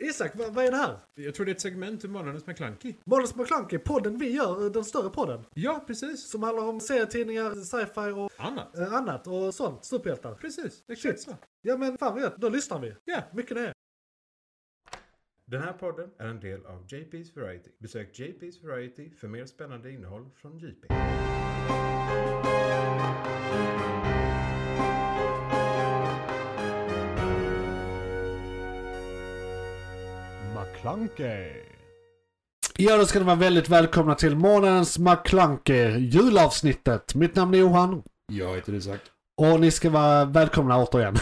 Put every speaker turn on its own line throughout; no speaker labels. Isak, vad, vad är det här?
Jag tror det är ett segment ur Månadens McKlunky.
Måns McClunky, podden vi gör, eh, den större podden.
Ja, precis.
Som handlar om serietidningar, sci-fi och
Annat.
eh, annat och sånt. Superhjältar.
Precis, exakt så.
Ja men fan vad gött, då lyssnar vi.
Ja.
Mycket det.
Den här podden är en del av JP's Variety. Besök JP's Variety för mer spännande innehåll från JP.
McClunkey.
Ja då ska ni vara väldigt välkomna till månadens McClunky, julavsnittet. Mitt namn är Johan.
Jag heter Isak.
Och ni ska vara välkomna återigen.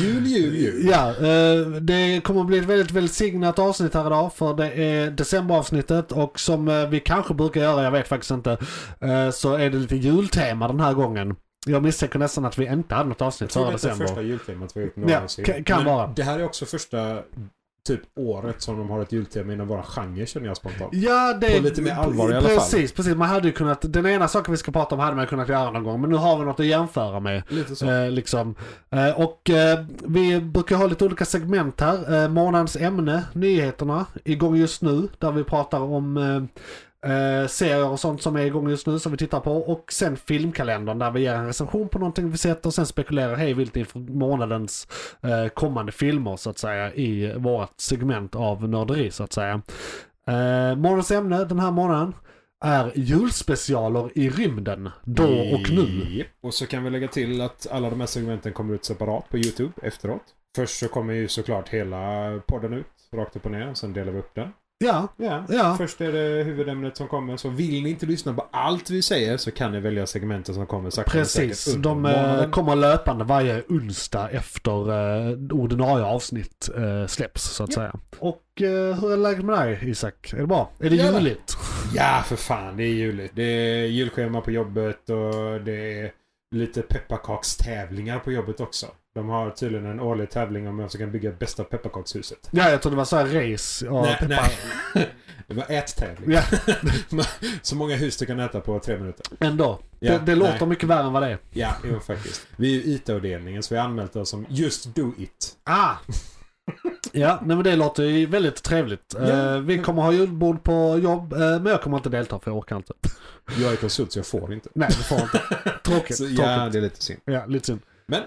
Jul, jul, jul.
ja, eh, det kommer att bli ett väldigt välsignat avsnitt här idag. För det är decemberavsnittet och som eh, vi kanske brukar göra, jag vet faktiskt inte. eh, Så är det lite jultema den här gången. Jag misstänker nästan att vi inte hade något avsnitt
tror
före
detta är första
december.
jultemat vi har gjort
Ja,
någonsin.
ka- kan
Men
vara.
Det här är också första typ året som de har ett jultema inom våran genre känner jag spontant.
Ja, det
På lite mer allvar i alla fall.
precis, Precis, man hade ju kunnat, den ena saken vi ska prata om hade man kunnat göra någon gång, men nu har vi något att jämföra med.
Lite så.
Eh, liksom. eh, och eh, vi brukar ha lite olika segment här. Eh, månadens ämne, nyheterna, igång just nu, där vi pratar om eh, eh, serier och sånt som är igång just nu som vi tittar på. Och sen filmkalendern där vi ger en recension på någonting vi sett och sen spekulerar hej vilt inför månadens eh, kommande filmer så att säga i vårt segment av nörderi så att säga. Eh, månadens ämne den här månaden är julspecialer i rymden, då och nu.
Japp. Och så kan vi lägga till att alla de här segmenten kommer ut separat på YouTube efteråt. Först så kommer ju såklart hela podden ut, rakt upp och ner. Sen delar vi upp den.
Ja,
Ja.
ja.
Först är det huvudämnet som kommer. Så vill ni inte lyssna på allt vi säger så kan ni välja segmenten som kommer sakta men
Precis,
säkert under
de eh,
månaden.
kommer löpande varje onsdag efter eh, ordinarie avsnitt eh, släpps så att säga. Och eh, hur är läget med dig Isak? Är det bra? Är det
Jävlar.
juligt?
Ja, för fan. Det är juligt. Det är julschema på jobbet och det är lite pepparkakstävlingar på jobbet också. De har tydligen en årlig tävling om vem som kan bygga bästa pepparkakshuset.
Ja, jag tror det var så här race och
nej,
peppar.
nej. Det var ättävling.
Ja,
Så många hus du kan äta på tre minuter.
ändå.
Ja,
det det
nej.
låter mycket värre än vad det är.
Ja, jo faktiskt. Vi är ju IT-avdelningen så vi har anmält oss som just do it.
Ah! Ja, nej, men det låter ju väldigt trevligt.
Ja.
Eh, vi kommer ha julbord på jobb, eh, men jag kommer inte delta för jag orkar inte.
Jag är konsult så jag får inte.
Nej, det får jag inte. Tråkigt.
Så,
tråkigt.
ja, det är lite synd.
Ja, lite synd.
Men-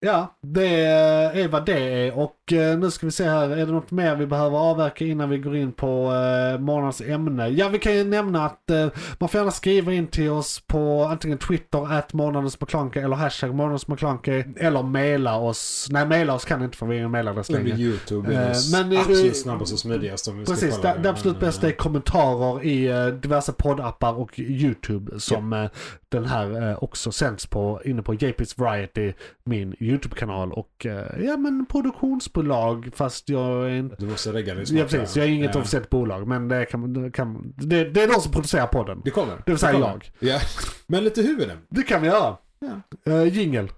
Ja, det är vad det är. Och eh, nu ska vi se här, är det något mer vi behöver avverka innan vi går in på eh, månadens ämne? Ja, vi kan ju nämna att eh, man får gärna skriva in till oss på antingen Twitter, at månadens McClunky, eller hashtag månadens McClunky, eller mejla oss. Nej, mejla oss kan ni inte för vi har ingen mejladress
Under
längre.
YouTube är
Eh, men,
det
eh,
absolut snabbast och smidigast om vi ska
Precis,
kolla
det, det absolut
Men,
bästa är kommentarer i eh, diverse poddappar och YouTube som eh, den här eh, också sänds på inne på JP's Variety, min YouTube-kanal och eh, ja men produktionsbolag fast jag är inte...
Du måste regga dig snart.
Ja precis, jag är inget
Ja.
officiellt bolag men det, kan, det, kan, det, det är de som producerar podden.
Det kommer.
Det vill säga
kommer.
jag.
Ja. Men lite huvuden.
Det kan vi göra.
Ja.
Eh, Jingel.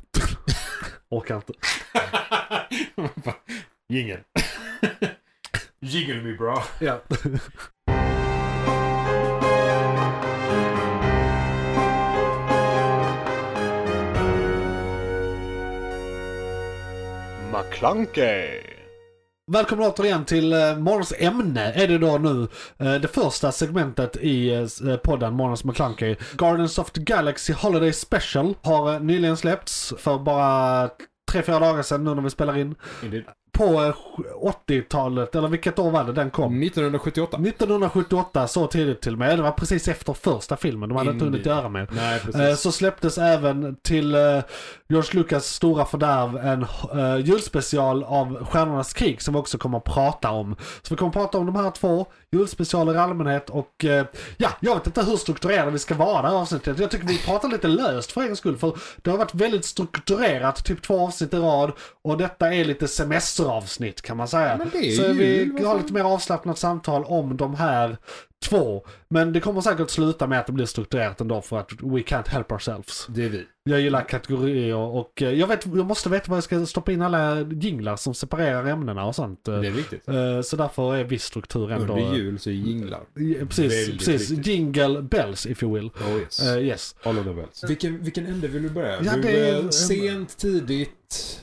Orkar inte.
Jingel. Jingel me bra.
Ja.
McClunkey.
Välkomna återigen till eh, morgons ämne är det då nu. Eh, det första segmentet i eh, podden Morgons McClunky. Guardians of the Galaxy Holiday Special har eh, nyligen släppts för bara 3-4 dagar sedan nu när vi spelar in. På eh, 80-talet, eller vilket år var det den kom?
1978.
1978, så tidigt till och med. Det var precis efter första filmen, de hade inte hunnit
Indeed.
göra mer.
Nej, precis.
Eh, Så släpptes även till eh, George Lucas stora fördärv en eh, julspecial av Stjärnornas krig som vi också kommer att prata om. Så vi kommer att prata om de här två, julspecialer i allmänhet och eh, ja, jag vet inte hur strukturerade vi ska vara det här avsnittet. Jag tycker vi pratar lite löst för en skull för det har varit väldigt strukturerat, typ två avsnitt i rad och detta är lite semesteravsnitt kan man säga.
Men det är ju
Så vi
jul, vad
har
fan.
lite mer avslappnat samtal om de här två. Men det kommer säkert sluta med att det blir strukturerat ändå för att we can't help ourselves.
det är vi.
Jag gillar kategorier och eh, jag, vet, jag måste veta vad jag ska stoppa in alla jinglar som separerar ämnena och sånt.
Det är viktigt.
Eh, Så därför är viss struktur ändå...
Under jul så jinglar.
Ja, Precis,
Väldigt
precis.
viktigt.
Jingle bells if you will.
Oh yes.
Eh, yes.
All of the bells. Vilken, vilken ände vill du eh, börja?
Ja,
vill
det
du
är-
börja sent, tidigt?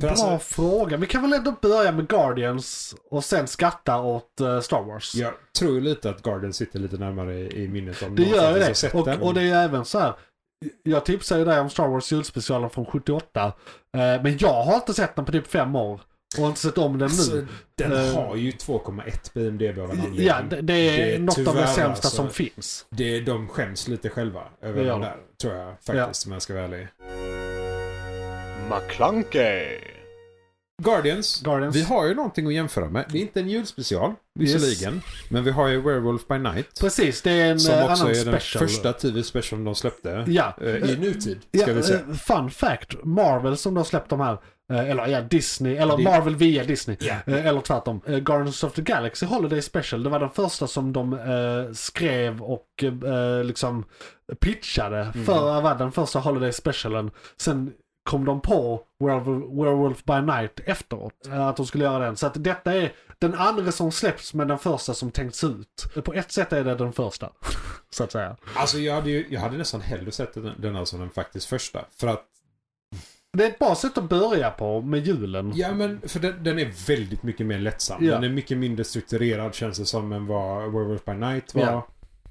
Bra
alltså-
fråga. Vi kan väl ändå börja med Guardians och sen skratta åt eh, Star Wars.
Jag tror ju lite att Garden sitter lite närmare i, i minnet om
Det
någon
gör ju
faktiskt har sett
det.
den.
Och, och det är ju även så här. Jag tipsade ju dig om Star Wars julspecialen från 78. eh, Men jag har inte sett den på typ fem år. Och har inte sett om den
Alltså,
nu.
den
Eh,
har ju 2,1 på IMDB av en anledning.
Ja, det, det är
Det är
något av
tyvärr
det sämsta
alltså-
som finns.
Det, de skäms lite själva över
Ja.
den där, tror jag faktiskt om jag ska vara ärlig.
McClunkey.
Guardians.
Guardians.
Vi har ju någonting att jämföra med. Det är inte en julspecial, visserligen. Men vi har ju Werewolf by Night.
Precis, det är en
Som
eh,
också
annan
är den
special.
första TV-specialen de släppte.
Ja.
Eh, I nutid, ska
Ja,
vi säga.
eh, fun fact. Marvel som de har släppt de här, eh, eller ja, Disney, eller
Det-
Marvel via Disney,
Ja.
eh, eller tvärtom. Eh, Guardians of the Galaxy Holiday Special, det var den första som de eh, skrev och eh, liksom pitchade
Mm.
för att vara den första Holiday Specialen. Sen kom de på Werewolf, Werewolf by Night efteråt, eh, att de skulle göra den. Så att detta är den andra som släpps men den första som tänkts ut. På ett sätt är det den första, så att säga.
Alltså jag hade, ju, jag hade nästan hellre sett den, den här som den faktiskt första. För att,
Det är ett bra sätt att börja på med julen.
ja men, för den, den är väldigt mycket mer lättsam.
Ja.
Den är mycket mindre strukturerad känns det som än vad Werewolf by Night var.
Ja.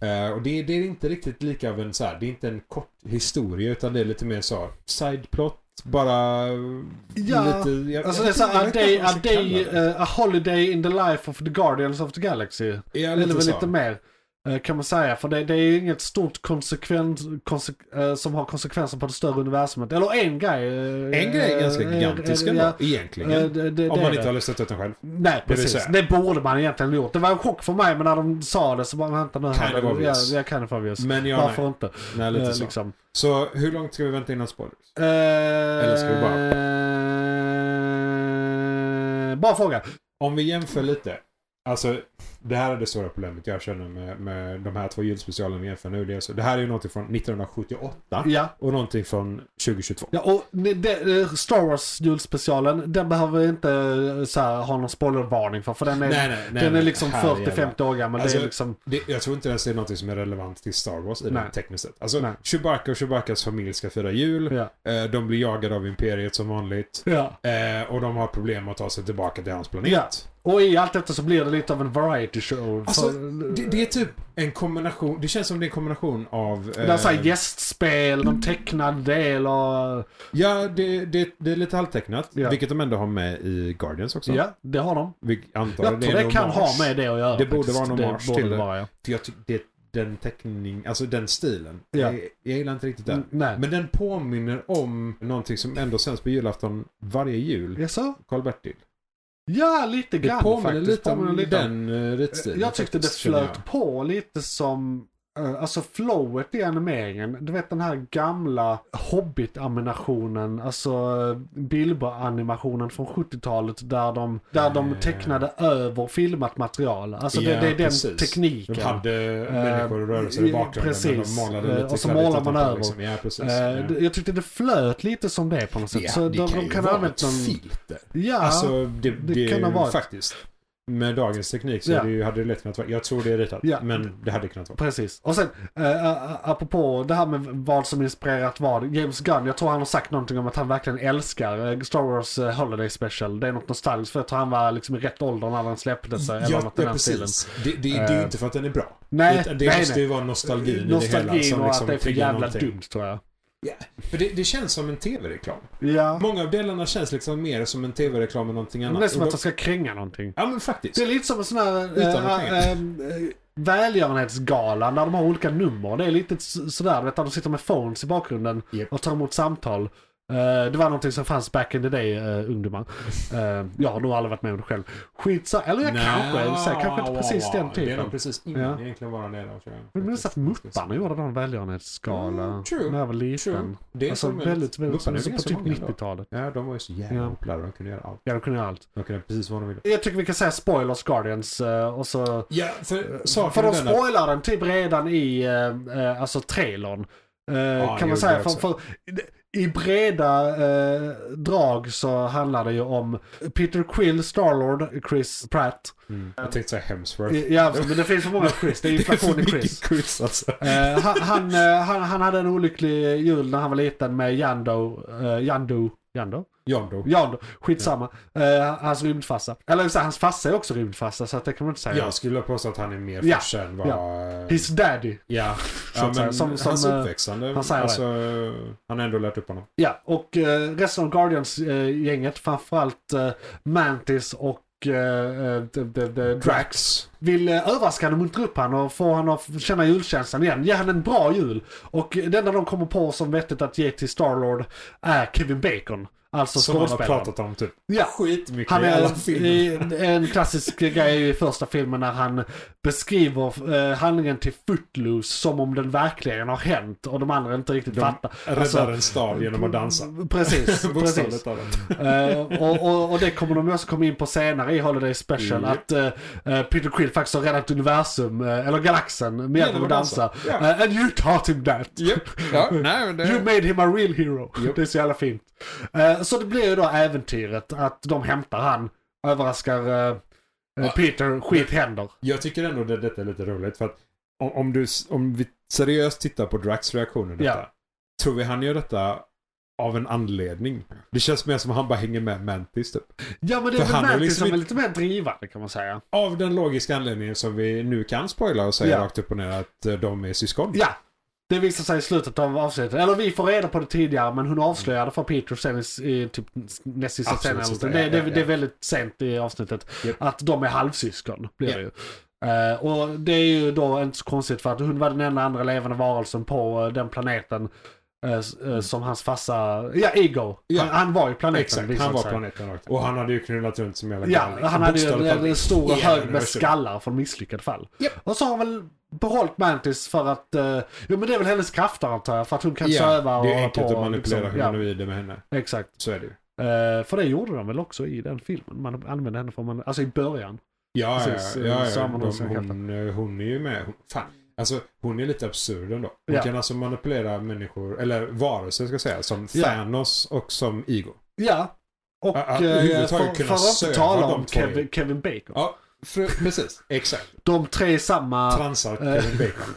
Eh, och det, det är inte riktigt lika av en så här, det är inte en kort historia utan det är lite mer så här, sideplot, bara
Ja,
lite... Jag,
Alltså det är
jag vet inte- jag
såhär, a
vet inte
day,
vad
a,
man ska
day
kalla det.
eh, a holiday in the life of the Guardians of the Galaxy.
Ja,
Eller väl
så.
lite mer eh, kan man säga. För det, det är ju inget stort konsekvent konsek- eh, som har konsekvenser på det större universumet. Eller en grej. eh,
En grej är ganska
eh,
gigantisk
eh,
ändå,
ja,
egentligen.
eh, det- det-
om
det
man
är
inte
det.
hade sett ut den själv.
Nej,
vill
precis.
säga.
Det borde man egentligen gjort. Det var en chock för mig men när de sa det så bara vänta nu.
Kind of obvious.
Jag kan obvious.
Men ja,
Varför
nej.
inte?
Nej, lite
Eh,
så.
liksom.
Så hur långt ska vi vänta innan spoilers?
Eller
ska vi
Eh, bara... Bra fråga.
Om vi jämför lite. Alltså, det här är det stora problemet jag känner med, med de här två julspecialerna vi jämför nu. Det, är så, det här är ju någonting från 1978
Ja.
och någonting från 2022.
Ja, och ni- det- eh, Star Wars julspecialen, den behöver vi inte eh, så här, ha någon spoilervarning för. För den är,
Nej, nej, nej,
den är
nej.
liksom
Här jävlar.
40-50 år gammal.
Alltså,
det är liksom,
Det, jag tror inte ens det är något som är relevant till Star Wars i
Nej.
det tekniskt sett. Alltså,
Nej.
Chewbacca och Chewbaccas familj ska fira jul.
ja.
Eh, De blir jagade av Imperiet som vanligt.
ja.
Eh, Och de har problem med att ta sig tillbaka till hans planet.
Ja. Och i allt detta så blir det lite av en variety show.
Alltså,
för,
det, det är typ en kombination. Det känns som det är en kombination av...
det är så
eh,
här gästspel, de tecknad del och...
Ja, det, det, det är lite halvtecknat.
Ja.
Vilket de ändå har med i Guardians också.
Ja, det har de.
Vi antar
Jag tror
är en
det kan ha
hommage.
med det att göra.
Det borde
faktiskt.
vara en hommage
borde
till det.
vara, ja.
För jag tycker det, den teckning, alltså den stilen.
Ja.
Jag, jag gillar inte riktigt den.
Mm, Nej.
Men den påminner om någonting som ändå sänds på julafton varje jul.
Jaså?
Karl-Bertil.
Ja, lite
Det
grann
påminner
faktiskt.
lite
Påminner
om
lite
den eh, ritstilen.
Jag tyckte det
faktiskt, känner jag.
flöt på lite som, eh, alltså flowet i animeringen. Du vet den här gamla Hobbit-animationen, alltså eh, Bilbo-animationen från 70-talet där de, där de
Eh.
tecknade över filmat material. Alltså det,
Ja,
det är den
precis.
tekniken.
De hade
Eh,
människor och rörelser i
i-
bakgrunden.
precis.
Precis. De
Eh,
målade lite
och så
kladdigt
målar man
utanpå,
över.
Liksom. Ja, precis.
Eh,
ja.
d- Jag tyckte det flöt lite som det på något sätt.
Ja,
Så
det
de,
kan
de
ju
kan ha
vara
använt
ett
någon...
filter.
Ja,
Alltså det, det,
kan ha varit.
faktiskt. Med dagens teknik så
Ja.
är det ju, hade det lätt kunnat vara. Jag tror det är ritat.
Ja.
Men det hade kunnat vara.
Precis. Och sen, eh, a- apropå det här med vad som inspirerat vad. James Gunn, jag tror han har sagt någonting om att han verkligen älskar eh, Star Wars eh, Holiday Special. Det är något nostalgiskt för jag tror han var liksom i rätt ålder när den släpptes. eh, eller något i den stilen.
Det, det, det är ju inte för att den är bra.
Eh. Nej,
det det
nej,
måste
nej.
ju vara nostalgin, i det hela.
Nostalgin
Som
och
liksom
att det är för
triggar
jävla
någonting.
dumt tror jag.
Ja. För det, det känns som en tv-reklam.
Ja.
Många av delarna känns liksom mer som en tv-reklam än någonting
Men
annat.
det är som
Och
att
då-
de ska kränga någonting.
Ja men faktiskt.
Det är lite som en sån här
Utan
eh,
att
eh, eh, välgörenhetsgala när de har olika nummer. Det är lite s- sådär, du vet, när de sitter med phones i bakgrunden
Japp.
och tar emot samtal. Eh, det var någonting som fanns back in the day, eh, ungdomar. Eh, jag har nog aldrig varit med om det själv. Skitsa, eller jag
Nej,
kanske, så här, kanske inte precis den
Det är nog
typen.
precis ingen
Ja.
egentligen vara det där, tror jag.
Jag minns att Mupparna gjorde någon välgörenhetsgala
Mm, true,
när jag var liten.
True. Det är
Alltså
som en-
väldigt, väldigt,
Mupparna är
på
ganska
typ
många ändå.
90-talet.
Ja, de var ju så jävla
Ja.
populära. De kunde göra allt.
Ja, de kunde göra allt.
De kunde göra precis vad de ville.
Jag tycker vi kan säga spoilers Guardians eh, och så
Ja, för saken
Eh, För de
är den att...
spoilar den typ redan i eh, eh, alltså trailern. Eh,
det
kan
gjorde
man säga.
jag
För,
också.
för, I breda eh, drag så handlar det ju om Peter Quill, Starlord, Chris Pratt.
Mm. Jag tänkte säga Hemsworth.
I- Ja, alltså, men det finns för många Chris. Det är inflation i Chris.
Chris alltså.
Eh, han, han, eh, han, han hade en olycklig jul när han var liten med Jando. Eh, Jando. Jando?
Jondo.
Jan, skitsamma. Eh, hans rymdfarsa. Eller så, här, hans farsa är också rymdfarsa så att det kan man inte säga.
Jag skulle påstå att han är mer
Ja,
farsa än vad... Ja.
His daddy.
ja.
Så att säga,
men
som- som,
hans
eh,
uppväxande.
han säger det.
alltså, han har ändå lärt upp honom.
Ja, och eh, resten av Guardians-gänget, framförallt eh, Mantis och eh, eh, d- d- d- Drax vill eh, överraskande muntra upp han och få han att känna julkänslan igen. Ge han en bra jul. Och det enda de kommer på som vettigt att ge till Starlord är Kevin Bacon. Alltså
Som han har
skådespelaren.
pratat om typ
Ja.
skitmycket
Han
i alla
är,
filmer.
i- en klassisk grej i första filmen när han beskriver eh, handlingen till Footloose som om den verkligen har hänt och de andra inte riktigt
De
fattar.
Räddar en stad genom att dansa.
Alltså- Precis, precis.
Bokstavligt talat.
Eh, och, och, och det kommer de också komma in på senare i Holiday Special.
Mm.
Att eh, eh, Peter Quill faktiskt har räddat universum, eh, eller galaxen, med hjälp av att dansa.
Ja.
Eh, and you taught him that.
Japp. Ja, nej men
You
det...
made him a real hero.
Japp.
Det är så jävla fint. Eh, så det blir ju då äventyret att de hämtar han, överraskar eh, eh,
Ja.
Peter, skit händer.
Jag tycker ändå det, detta är lite roligt för att om, om, du, om vi seriöst tittar på Drax reaktion i detta.
Ja.
Tror vi han gör detta av en anledning? Det känns mer som att han bara hänger med Mantis typ.
Ja men det
För
är väl
han är
Mantis
liksom
som är
inte-
lite mer drivande kan man säga.
Av den logiska anledningen som vi nu kan spoila och säga
Ja.
rakt upp och ner att eh, de är syskon.
Ja. Det visar sig i slutet av avsnittet. Eller vi får reda på det tidigare men hon avslöjade för Peter sen i, i typ näst sista
Absolut,
scenen. eller något.
sista,
Det,
ja,
det,
ja, ja.
det är väldigt sent i avsnittet.
Japp.
Att de är halvsyskon blir
Ja.
det ju. Eh, och det är ju då inte så konstigt för att hon var den enda andra levande varelsen på eh, den planeten eh, s- eh, som hans farsa, ja Igor.
Ja.
Han, han var ju planeten.
Exakt,
visar
han
det
var
sig.
planeten rakt Och han hade ju knullat runt som jävla
Ja,
galning.
han hade ju en,
Bokstavligt
en
talat.
stor
Hela
hög med
universum.
skallar från misslyckade fall.
Japp.
Och så har han väl behållit Mantis för att, eh, jo men det är väl hennes krafter antar jag, för att hon kan söva
Ja,
och
det är
hålla
enkelt
på,
att manipulera
liksom. ja,
humanoider med henne.
Exakt.
Så är det ju.
Eh, för det gjorde de väl också i den filmen, man använde henne för man, alltså i början.
Ja,
Precis, eh,
ja, ja, ja.
samman
De,
hos sina
hon, eh, hon är ju med. Hon, fan. Alltså, hon är lite absurd ändå. Hon
Ja.
kan alltså manipulera människor, eller varelser ska jag säga, som
Ja.
Thanos och som Ego.
Ja. Och
Ja, att
eh,
överhuvudtaget
för,
kunna
för att
söva
inte tala
de
om
två
Kevin,
i-
Kevin Bacon.
Ja, för, precis. Exakt.
De tre är samma...
Transar
Eh.
Kevin Bacon.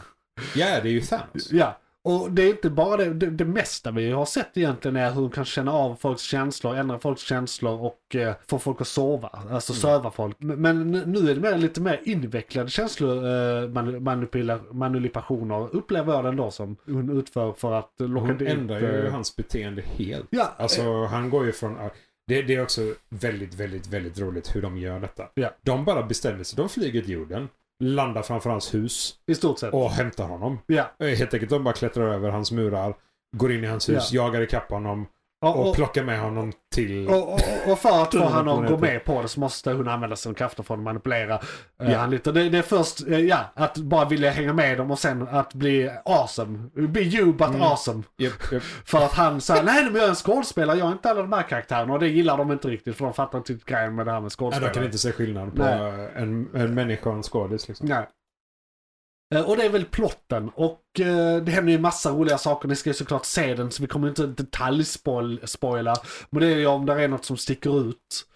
Ja, det är ju Thanos.
Ja, och det är inte bara det. Det, det mesta vi har sett egentligen är hur hon kan känna av folks känslor, ändra folks känslor och eh, få folk att sova. Alltså
Mm.
söva folk. Men, men nu är det mer, lite mer invecklade känslor, eh, manu- manipula- manipulationer upplever jag den då som hon utför för att locka
Hon
dit,
ändrar ju
eh,
hans beteende helt.
Ja, alltså,
Alltså, han går ju från... Det, det är också väldigt, väldigt, väldigt roligt hur de gör detta.
Ja.
De bara bestämmer sig. De flyger till jorden, landar framför hans hus
i stort sett.
och hämtar honom.
Ja,
Eh, Helt enkelt, de bara klättrar över hans murar, går in i hans hus, jagar ikapp honom
och,
och,
och,
plockar med honom till...
och, och, och för att få
Tunneln
han
på
att gå
nätet.
med på det så måste hon använda sina krafter för att manipulera eh,
Ja.
han lite. Det, det är först, eh, ja, att bara vilja hänga med dem och sen att bli awesome. Be you but
Mm.
awesome.
Japp, japp.
För att han sa, nej men jag är en skådespelare, jag är inte alla de här karaktärerna. Och det gillar de inte riktigt för de fattar inte riktigt grejen med det här med
Nej,
skådespelare.
de kan inte se skillnad på
Nej.
en, en människa och en skådis. Liksom.
Nej. Eh, Och det är väl plotten. Och eh, det händer ju massa roliga saker. Ni ska ju såklart se den så vi kommer inte detaljspoila. Men det är ju om det är något som sticker ut.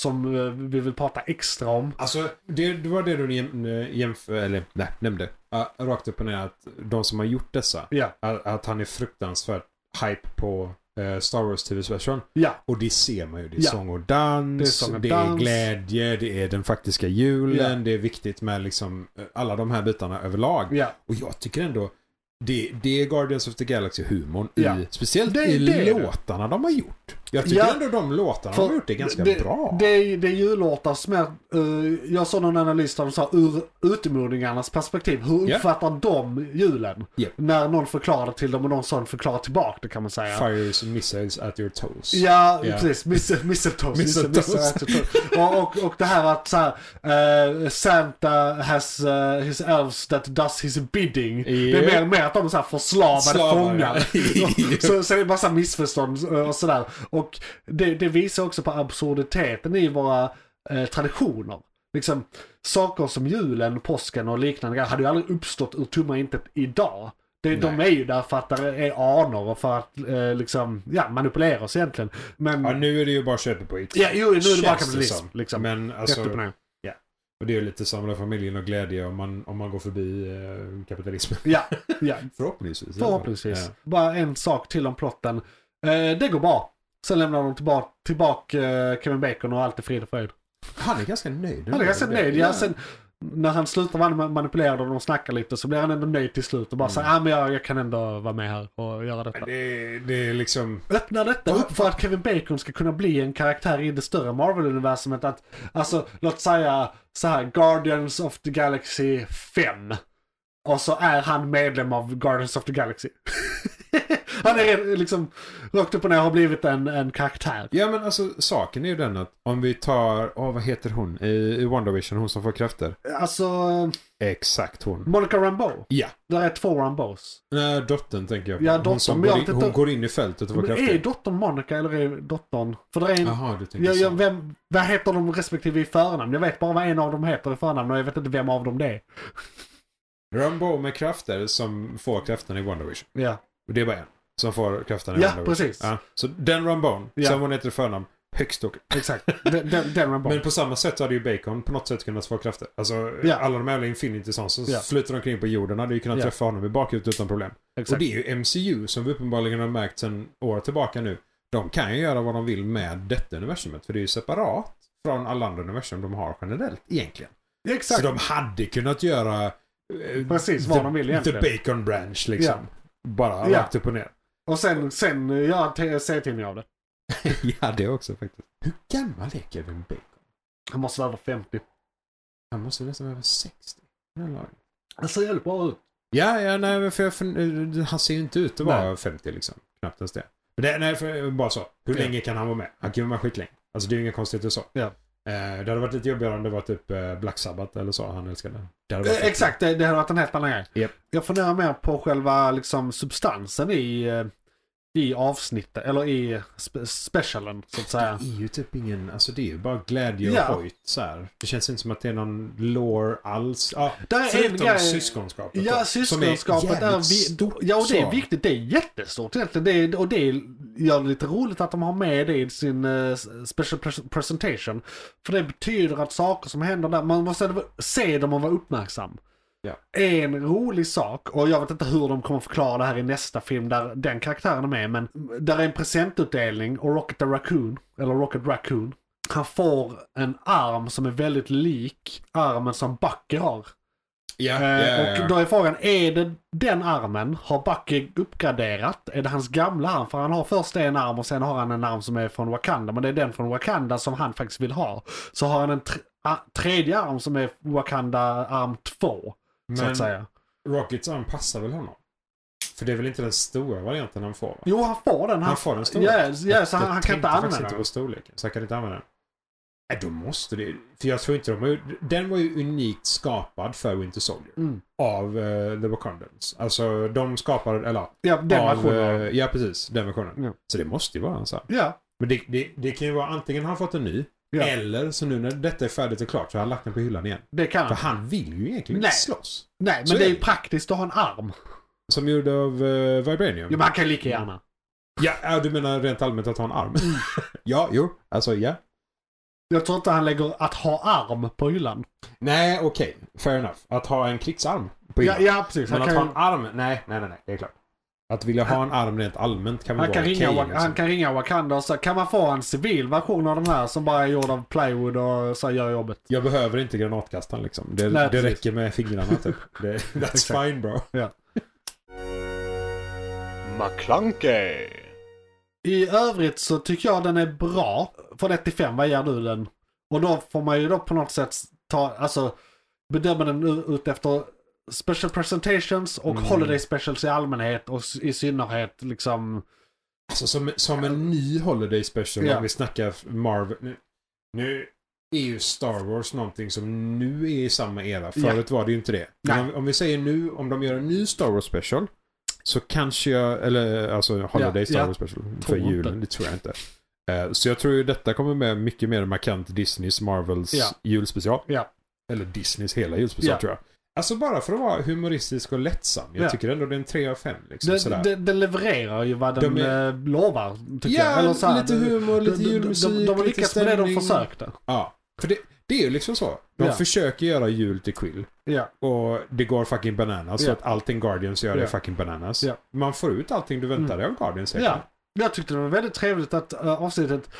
Som eh, vi vill prata extra om.
Alltså, det, det var det du jäm- jämför, eller nej, nämnde. Ja, rakt upp och ner att de som har gjort dessa,
Ja,
att, att han är fruktansvärt hype på eh, Star Wars TV-version.
ja,
Och det ser man ju. Det är
Ja.
sång och dans,
Det
det
är
är,
sång och dans.
glädje, det är den faktiska julen,
Ja.
det är viktigt med liksom eh, alla de här bitarna överlag.
ja.
Och jag tycker ändå det, det är Guardians of the Galaxy-humorn.
Ja.
I, speciellt
Det-
i
det är det.
låtarna de har gjort. Jag tycker
Ja.
ändå de låtarna de
För
har gjort är ganska
det,
bra.
Det, är- det är jullåtar som är, eh, jag såg någon analys där de sa ur utomordingarnas perspektiv, hur
Ja.
uppfattar de julen?
Ja.
När någon förklarar till dem och någon sån förklarar tillbaka det kan man säga.
Fires and missiles at your toes.
Ja,
Ja.
precis. Misse- Mistletoes. Misse-
Mistletoes.
mistletoes. och, och, och det här att så här, eh, Santa has eh, his elves that does his bidding. Det är
Ja.
mer, mer att de är så här förslavade
Slavar,
fångar.
ja.
så, så det är massa missförstånd eh, och sådär. Och det, det visar också på absurditeten i våra eh, traditioner. Liksom, saker som julen, påsken och liknande grejer hade ju aldrig uppstått ur tomma intet idag. Det, de är
Nej.
ju där för att det är anor och för att eh, liksom, ja, manipulera oss egentligen. Men,
Ja, nu är det ju bara köpet på it.
ja, jo, nu är
Känns
det bara kapitalism.
som.
Liksom.
Men alltså,
Rätt upp och ner.
och det är ju lite samla familjen och glädje om man, om man går förbi eh, kapitalismen.
Ja, ja,
Förhoppningsvis. i alla fall.
förhoppningsvis. Bara en sak till om plotten. Eh, det går bra. Sen lämnar de tillbaka, tillbaka eh, Kevin Bacon och allt är frid och fröjd.
Han är ganska nöjd.
Han är ganska nöjd. Ja, sen när han slutar vara manipulerad och de snackar lite så blir han ändå nöjd till slut och bara säger ah, men jag, jag kan ändå vara med här och göra detta.
Mm. Det, det är liksom...
Öppna detta upp för att Kevin Bacon ska kunna bli en karaktär i det större Marvel-universumet. Att, alltså, låt säga så här, Guardians of the Galaxy 5. Och så är han medlem av Guardians of the Galaxy. han är redan, liksom, rakt upp och ner har blivit en, en karaktär.
Ja men alltså saken är ju den att om vi tar, åh vad heter hon i, i WandaVision, hon som får krafter?
Alltså,
Exakt hon.
Monica Rambeau.
Ja.
Där är två Rambeaus.
Nej, dottern tänker jag på.
Ja, dottern,
hon som
men jag
går
vet
in,
inte-
hon går in i fältet och får
Men är
krafter.
dottern Monica eller är dottern... För det är en...
Jaha, du tänker
Jag, jag,
så.
vem, vad heter de respektive i förnamn? Jag vet bara vad en av dem heter i förnamn och jag vet inte vem av dem det är.
Rambo med krafter som får krafterna i WandaVision.
Ja,
Och det är bara en som får krafterna i
ja
WandaVision.
precis.
Ja, så den Rambone,
Ja.
som hon heter i förnamn, högst upp.
Exakt. Den, den, den var bra.
Men på samma sätt hade ju Bacon på något sätt kunnat få krafter. Alltså
Ja.
alla de här jävla Infinity Sons som
Ja.
flyter omkring på jorden hade ju kunnat
Ja.
träffa honom i bakhuvudet utan problem. Och
Exakt.
det är ju MCU som vi uppenbarligen har märkt sedan år tillbaka nu. De kan ju göra vad de vill med detta universumet. För det är ju separat från alla andra universum de har generellt egentligen.
Exakt.
Så de hade kunnat göra eh,
Precis, vad
the,
de vill egentligen.
The Bacon Branch liksom. Bara
Ja.
rakt upp och ner.
Och sen, sen gör t- serietidningar av det.
ja, det också faktiskt. Hur gammal är Kevin Bacon?
Han måste vara över 50.
Han måste ju nästan vara över 60. Den här lagen.
Han ser jävligt bra ut.
Ja, ja, nej, men för jag, fun- eh, han ser ju inte ut att vara
Nej.
50 liksom. Knappt ens det. Men det nej, för, eh, bara så. Hur
Ja.
länge kan han vara med? Han kan ju vara med skitlänge. Alltså det är ju inga konstigheter så.
Ja.
Eh, det hade varit lite jobbigare om det var typ eh, Black Sabbath eller så. Han älskade. Det hade varit
Eh, Exakt, det, det hade varit en helt annan grej.
Japp.
Jag funderar mer på själva liksom, substansen i, eh, i avsnittet, eller i spe- specialen så att säga.
Det är ju typ ingen, alltså det är ju bara glädje och
Ja.
hojt så här. Det känns inte som att det är någon lore alls. Ja,
Där är en
förutom
grej-
syskonskapet då,
Ja,
som är
syskonskapet är,
jävligt
vi,
stort,
Ja, och det
så.
är viktigt. Det är jättestort egentligen. Det är, och det är, gör det lite roligt att de har med det i sin eh, special pres- presentation. För det betyder att saker som händer där, man måste se dem och vara uppmärksam.
Ja.
En rolig sak, och jag vet inte hur de kommer förklara det här i nästa film där den karaktären är med, men där är en presentutdelning och Rocket the Raccoon, eller Rocket Raccoon, han får en arm som är väldigt lik armen som Bucky har.
Ja,
Eh,
ja, ja, ja.
Och då är frågan, är det den armen? Har Bucky uppgraderat? Är det hans gamla arm? För han har först en arm och sen har han en arm som är från Wakanda. Men det är den från Wakanda som han faktiskt vill ha. Så har han en tr- a- tredje arm som är Wakanda arm 2. Så att säga.
Rockets arm passar väl honom? För det är väl inte den stora varianten han får? Va?
Jo, han får den.
han, får den stora.
Ja, ja, så
Jag
Ah, han, han kan
tänkte
inte
faktiskt
använda
inte
den.
på storleken, så han kan inte använda den. Nej, då måste det För jag tror inte de har gjort- Den var ju unikt skapad för Winter Soldier.
Mm.
Av eh, The Wakandans. Alltså de skapade, eller
Ja, den
av,
versionen.
eh, Ja, precis. Den versionen.
Ja.
Så det måste ju vara hans arm.
Ja,
Men det, det, det kan ju vara antingen har han fått en ny.
Ja.
Eller så nu när detta är färdigt och klart så har han lagt den på hyllan igen.
det kan
För
han.
han vill ju egentligen inte
Nej.
slåss.
Nej,
så
men det är
är
ju
det.
praktiskt att ha en arm.
Som gjord av eh, Vibranium.
Ja, man kan lika gärna.
Ja, ja, du menar rent allmänt att ha en arm?
Mm.
ja, jo. Alltså, ja.
Jag tror inte han lägger att ha arm på hyllan.
Nej, okej. Fair enough. Att ha en krigsarm på
Ja,
ja,
ja precis.
Men
Han
att
kan,
ha
ju-
en arm? Nej, nej, nej, nej. Det är klart. Att vilja ha en arm rent allmänt kan väl
Han
vara
kan,
okej.
ringa, Wak-
liksom.
han kan ringa Wakanda och säga kan man få en civil version av den här som bara är gjord av plywood och så här gör jobbet.
Jag behöver inte granatkastaren liksom. Det,
Nej,
det
precis.
räcker med fingrarna typ. Det, that's fine bro.
McClunkey.
I övrigt så tycker jag den är bra. Från 1 till 5, vad ger du den? Och då får man ju då på något sätt ta, alltså bedöma den u- ut efter special presentations
Mm.
och holiday specials i allmänhet och s- i synnerhet liksom.
Alltså som, som en ny Holiday Special
Ja.
om vi snackar Marvel. Nu, nu är ju Star Wars någonting som nu är i samma era. Förut var det ju inte det. Men
Nej.
om, om vi säger nu, om de gör en ny Star Wars Special. Så kanske jag, eller alltså Holiday
Ja,
Star
ja.
Wars Special för
inte.
julen, det tror jag inte. Eh, Så jag tror ju detta kommer med mycket mer markant Disneys Marvels
Ja.
julspecial.
Ja.
Eller Disneys hela julspecial
Ja.
tror jag. Alltså bara för att vara humoristisk och lättsam. Jag
Ja.
tycker ändå det är en 3 av 5. Liksom, sådär.
Den, den, den levererar ju vad den
De är-
eh, lovar tycker
Ja,
jag. Eller så här,
lite
de-
humor, lite
de, de,
julmusik,
de, de har
lite
lyckats med det de
stämning.
försökte.
Ja, för det, det är ju liksom så. De
Ja.
försöker göra jul till quill.
Ja.
Och det går fucking bananas.
Ja.
Så att allting Guardians gör
Ja.
är fucking bananas.
Ja.
Man får ut allting du väntade dig av Guardians. egentligen.
Ja. Jag tyckte det var väldigt trevligt att eh, avsnittet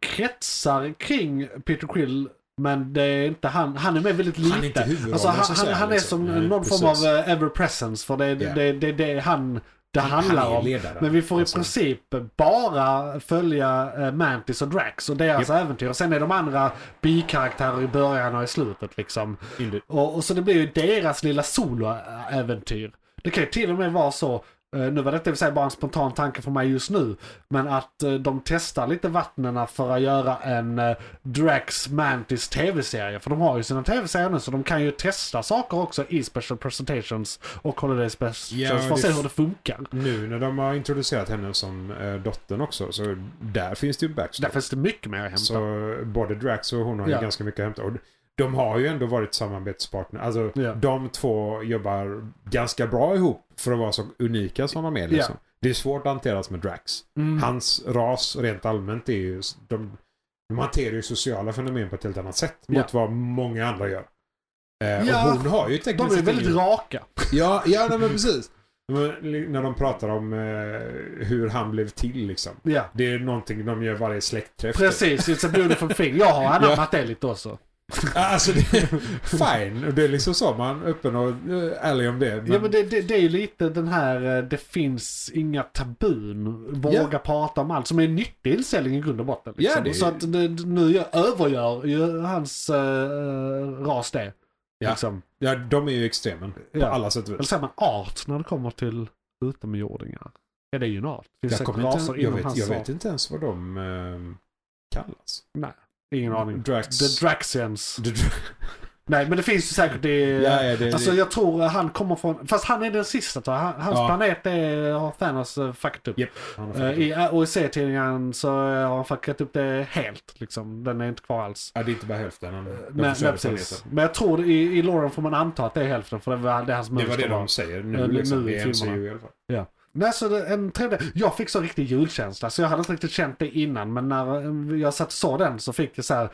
kretsar kring Peter Quill. Men det är inte han. Han är med väldigt lite.
Han är inte huvudrollen,
alltså, han,
så att
han,
säga,
han är
liksom.
som
Nej,
någon form
precis.
av eh, ever-presence. För det är
Ja.
det, det, det är han det handlar
han är
om.
ledaren.
Men vi får i
Alltså.
princip bara följa eh, Mantis och Drax och deras äventyr. Och sen är de andra bikaraktärer i början och i slutet liksom.
Indeed.
Och, och så det blir ju deras lilla soloäventyr. Det kan ju till och med vara så, eh, nu var detta i och för sig bara en spontan tanke för mig just nu, men att eh, de testar lite vattnena för att göra en eh, Drax Mantis tv-serie. För de har ju sina tv-serier nu så de kan ju testa saker också i special presentations och holiday specials
Ja,
för att
det
se
f-
hur det funkar.
Nu när de har introducerat henne som eh, dottern också, så där finns det ju
Där
backstory.
finns det mycket mer att hämta.
Så både Drax och hon har
Ja.
ju ganska mycket att hämta. Och de har ju ändå varit samarbetspartner. Alltså
Ja.
de två jobbar ganska bra ihop för att vara så unika som de är. Liksom. Det är svårt att hanteras med Drax.
Mm.
Hans ras rent allmänt är ju... De, de hanterar ju sociala fenomen på ett helt annat sätt
Ja.
mot vad många andra gör. Eh,
Ja,
och hon har ju tekniskt
De är
sett
väldigt
ingen-
raka.
Ja, ja nej, men precis. Men li- när de pratar om eh, hur han blev till liksom.
Ja.
Det är någonting de gör varje släktträff. typ.
Precis, it's a beautiful thing. Jag har anammat det lite också.
Ja, Alltså, det, fine. Och Det är liksom så. Man är öppen och eh, ärlig om det. Men,
Ja men det, det, det är ju lite den här, eh, det finns inga tabun. Våga
Ja.
prata om allt. Som är en nyttig inställning i grund och botten. Liksom.
Ja, det är-
Så att det, nu gör, övergör ju hans eh, ras det.
Ja.
Liksom.
ja, de är ju extremen. På
Ja.
alla sätt och
Eller
vis.
så är man art när det kommer till utomjordingar. Ja det är ju en art. Det finns
Jag,
säkert
kommer
raser
inte, jag,
inom
vet,
hans
jag
art.
vet inte ens vad de eh, kallas.
Ingen aning.
Drax.
The Draxians.
The Dra-
Nej men det finns ju säkert det.
ja, ja, det,
Alltså
det,
jag tror han kommer från, fast han är den sista tror jag. Han- Hans
Ja.
planet är, har Thanos eh, fuckat upp.
Japp, han har
Eh,
fuckat upp.
I, och i serietidningen så eh, har han fuckat upp det helt. Liksom. Den är inte kvar alls.
ja, det är inte bara hälften. Han, de
Men,
förstörde
nej, precis.
planeten.
Men jag tror det, i, i Lauren får man anta att det är hälften för det var det är hans
Det var
mönster
det
var.
de säger
Eh,
nu.
nu
Liksom.
i
Det är
filmerna.
MCU i alla fall.
Nej, så det, en tredje. Jag fick så riktig julkänsla så jag hade inte riktigt känt det innan men när eh, jag satt och såg den så fick jag så här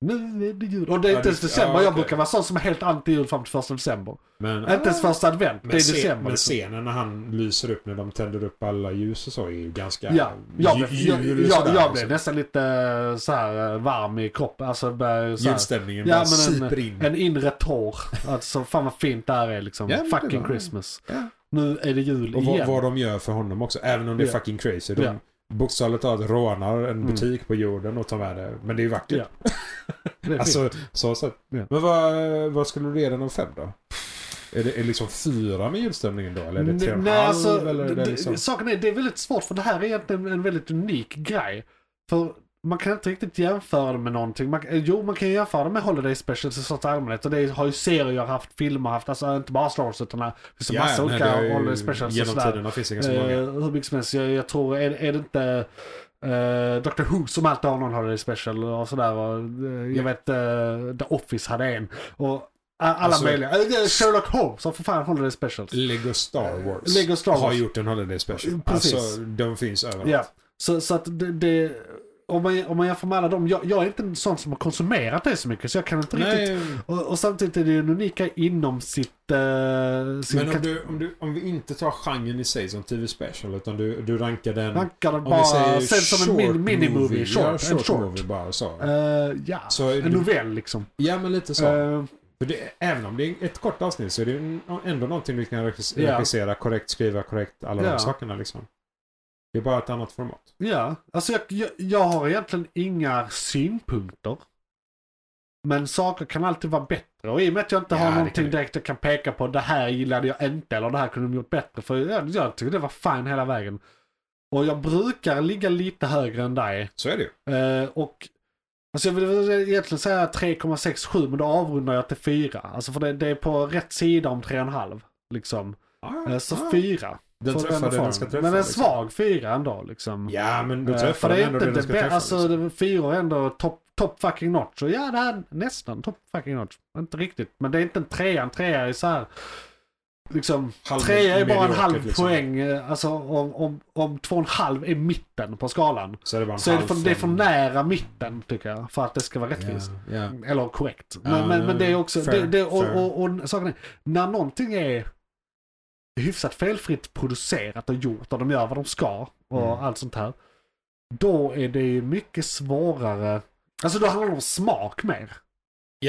nu är det jul. Och det är
Ja,
inte ens
det- ja,
december. Jag
okej.
brukar vara sån som är helt anti-jul fram till första december.
Men,
Inte ens första advent.
men
det är
scen-
december.
Men
liksom.
scenen när han lyser upp när de tänder upp alla ljus och så är ju ganska
Ja, jag,
ju-
blev, jag,
jul och
jag,
sådär,
jag
liksom.
blev nästan lite eh, så här eh, varm i kroppen. Alltså, började så här-
Julstämningen
Ja,
bara
men
super in.
en, en inre tår. Alltså fan vad fint det här är liksom.
Ja, men det
Fucking
var-
Christmas.
Ja.
Nu är det jul
Och vad,
igen.
vad de gör för honom också. Även om det är
Ja.
fucking crazy. De
Ja. Mm.
bokstavligt talat rånar en butik på jorden och tar med det. Men det är ju vackert.
Det är fint.
Alltså, så sett.
Ja.
Men vad, vad skulle du ge den av fem då? Är det, är det liksom fyra med julstämningen då? Eller är det tre och en
Nej,
halv?
alltså,
eller är det
d-
liksom...
Saken är, det är väldigt svårt för det här är egentligen en väldigt unik grej. För man kan inte riktigt jämföra det med någonting. Man, eh, jo, man kan jämföra det med Holiday Specials i största allmänhet. Och det har ju serier haft, filmer haft, alltså inte bara Star Wars utan det finns en
Ja,
massa
nej, det
olika
är ju-
Holiday Specials och
Genom
sådär.
tiderna finns det ganska många.
Uh, hur mycket som helst. Jag, jag tror, är, är det inte uh, Dr Who som alltid har någon Holiday Special och sådär. Och, eh, jag vet eh, The Office hade en. Och a- alla
Alltså-
möjliga. Eh, det är Sherlock Holmes har för fan Holiday Specials.
Lego Star Wars,
Lego Star
har
Wars. Eh,
gjort en Holiday Special.
Precis.
Alltså, de finns överallt.
Ja, så, så att det... det om man, om man jämför med alla dem, jag, jag är inte en sån som har konsumerat det så mycket så jag kan inte riktigt...
Nej,
Och, och samtidigt är det ju en unika inom sitt... eh, sin
men om,
kat-
du, om, du, om vi inte tar genren i sig som TV Special, utan du, du rankar den...
rankar den
Om vi
bara
säger
sett som en min,
short
minimovie, short,
ja, short,
en short.
movie bara så.
Eh, ja,
Så är
en
det-
novell liksom.
ja, men lite så.
Eh,
För det, även om det är ett kort avsnitt så är det ju ändå någonting du kan regis-
Ja.
regissera korrekt, skriva korrekt, alla
Ja.
de sakerna liksom. Det är bara ett annat format.
ja, alltså jag, jag, jag har egentligen inga synpunkter. Men saker kan alltid vara bättre. Och i och med att jag inte
Ja,
har
det
någonting
kan det.
direkt jag kan peka på, det här gillade jag inte eller det här kunde de gjort bättre. För jag, jag tycker det var fine hela vägen. Och jag brukar ligga lite högre än dig.
Så är det ju.
Eh, och Alltså jag vill väl egentligen säga 3,67 men då avrundar jag till 4. Alltså för det, det är på rätt sida om 3,5. Liksom.
Ah,
Eh, Så
ah.
4.
Den
Får
träffar
ändå
det
form.
den ska träffa.
Men en
liksom.
svag fyra ändå liksom.
Ja, men då
Eh, för
träffar
det
den
är
ändå
inte
det
det
den ska
bästa.
träffa.
Alltså
liksom.
det- fyra är ändå top, top fucking notch. Och ja, det här är nästan top fucking notch. Inte riktigt. Men det är inte en trea. En trea är så här. Liksom,
Halv-
trea är bara en
mediokert,
halv
liksom.
poäng. eh, Alltså om, om, om två och en halv är mitten på skalan.
Så är det bara en
Så är det,
halv
för, det är för
från-
nära mitten tycker jag. För att det ska vara rättvist.
Ja, ja.
Eller korrekt. Men,
Ja,
men, men det är också,
fair,
det, det, och,
fair.
och, och, saken är, när någonting är hyfsat felfritt producerat och gjort och de gör vad de ska och
Mm.
allt sånt här. Då är det ju mycket svårare. Alltså då handlar det om smak mer.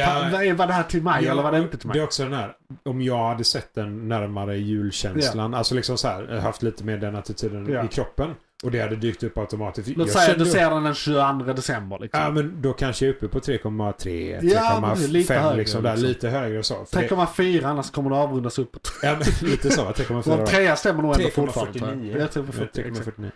Pa- Vad är vad det här till mig
Ja,
eller vad det inte till mig?
Det är också den här, om jag hade sett den närmare julkänslan, alltså liksom så här, haft lite mer den attityden
Ja.
i kroppen och det hade dykt upp automatiskt.
Låt
Jag
säga att du
kände-
ser den den 22 december liksom.
Ja men då kanske jag är uppe på 3,3,
Ja, precis, lite
3,5
högre
liksom, där,
liksom.
lite högre och så. För det,
3,4 annars kommer det avrundas uppåt.
ja, men, lite så, va?
Och
3,4.
en trea stämmer nog ändå fortfarande.
3,49.
tror jag. Jag tror på 40,
Nej,
exakt.
3,49.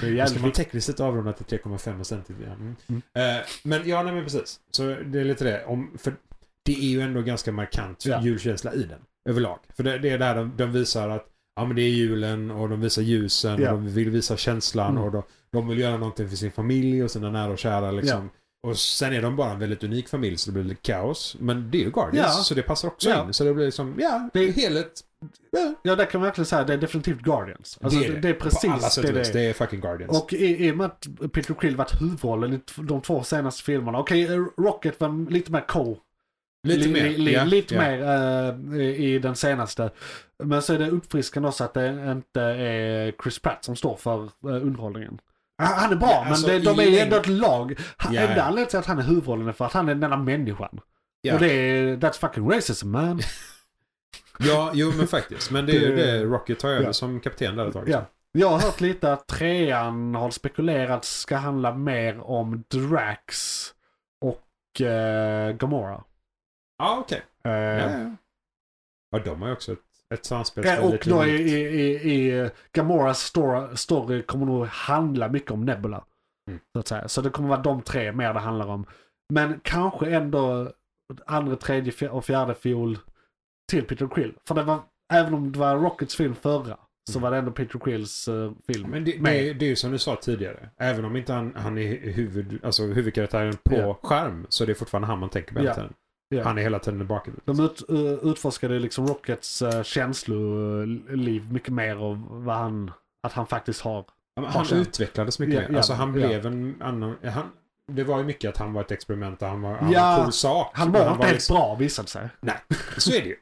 Det är
Då ska
jävligt
man
viktigt.
tekniskt sett avrunda till 3,5 och sen till... Ja. Mm. Eh, men ja, nej men precis. Så det är lite det. Om, för det är ju ändå ganska markant
Ja.
julkänsla i den. Överlag. För det, det är där de, de visar att ja, men det är julen och de visar ljusen
Ja.
och de vill visa känslan
Mm.
och de, de vill göra någonting för sin familj och sina nära och kära liksom. Och sen är de bara en väldigt unik familj så det blir lite kaos. Men det är ju Guardians
Ja.
så det passar också
Ja.
in. Så det blir liksom, ja,
Det-
helhet. Ja,
Ja, där kan man verkligen säga att det är definitivt Guardians. Alltså, det, är det. är
På alla
precis
sätt
det
och
det
vis.
är.
Det är fucking Guardians.
Och i, i och med att Peter Quill varit huvudrollen i t- de två senaste filmerna. Okej, eh, Rocket var lite mer co.
lite
li-
mer.
li-
ja,
lite
ja.
mer eh, i i den senaste. Men så är det uppfriskande också att det inte är Chris Pratt som står för eh, underhållningen. Han- Han är bra,
Ja,
men
alltså,
det, de
i
är ju
längd-
ändå ett lag. Han-
Ja,
Enda
ja.
anledningen till att han är huvudrollen är för att han är den enda människan.
Ja.
Och det är, that's fucking racism man.
Ja, jo men faktiskt. Men det är ju
Det-
det Rocket tar över
Ja.
som kapten där ett tag.
Ja. Jag har hört lite att trean har spekulerats ska handla mer om Drax och eh, Gamora.
Ja, okej.
Eh,
Ja, ja. ja, de har ju också ett, ett samspel. som
eh,
är
och
lite
då i,
unikt.
i, i, i eh, Gamoras story, story kommer nog handla mycket om Nebula.
Mm.
Så, att säga. så det kommer vara de tre mer det handlar om. Men kanske ändå andra, tredje fj- och fjärde fiol till Peter Quill. För det var, även om det var Rockets film förra, så var det ändå Peter Quills eh, film.
Mm. Men det, det,
med.
är- det är ju som du sa tidigare. Även om inte han, han är huvud, alltså huvudkaraktären på
Ja.
skärm så är det fortfarande han man tänker på hela
Ja.
tiden.
Ja.
Han är hela tiden i bakhuvudet.
De ut, eh, utforskade liksom Rockets eh, känsloliv mycket mer och vad han, att han faktiskt har.
Ja, men
har
Han
känt.
utvecklades mycket
Ja,
mer.
ja,
alltså han
ja.
blev en annan... Han, det var ju mycket att han var ett experiment och han var, han
Ja.
var en cool sak.
Han
Men
var inte helt
liksom-
bra visade det sig.
Så är det ju.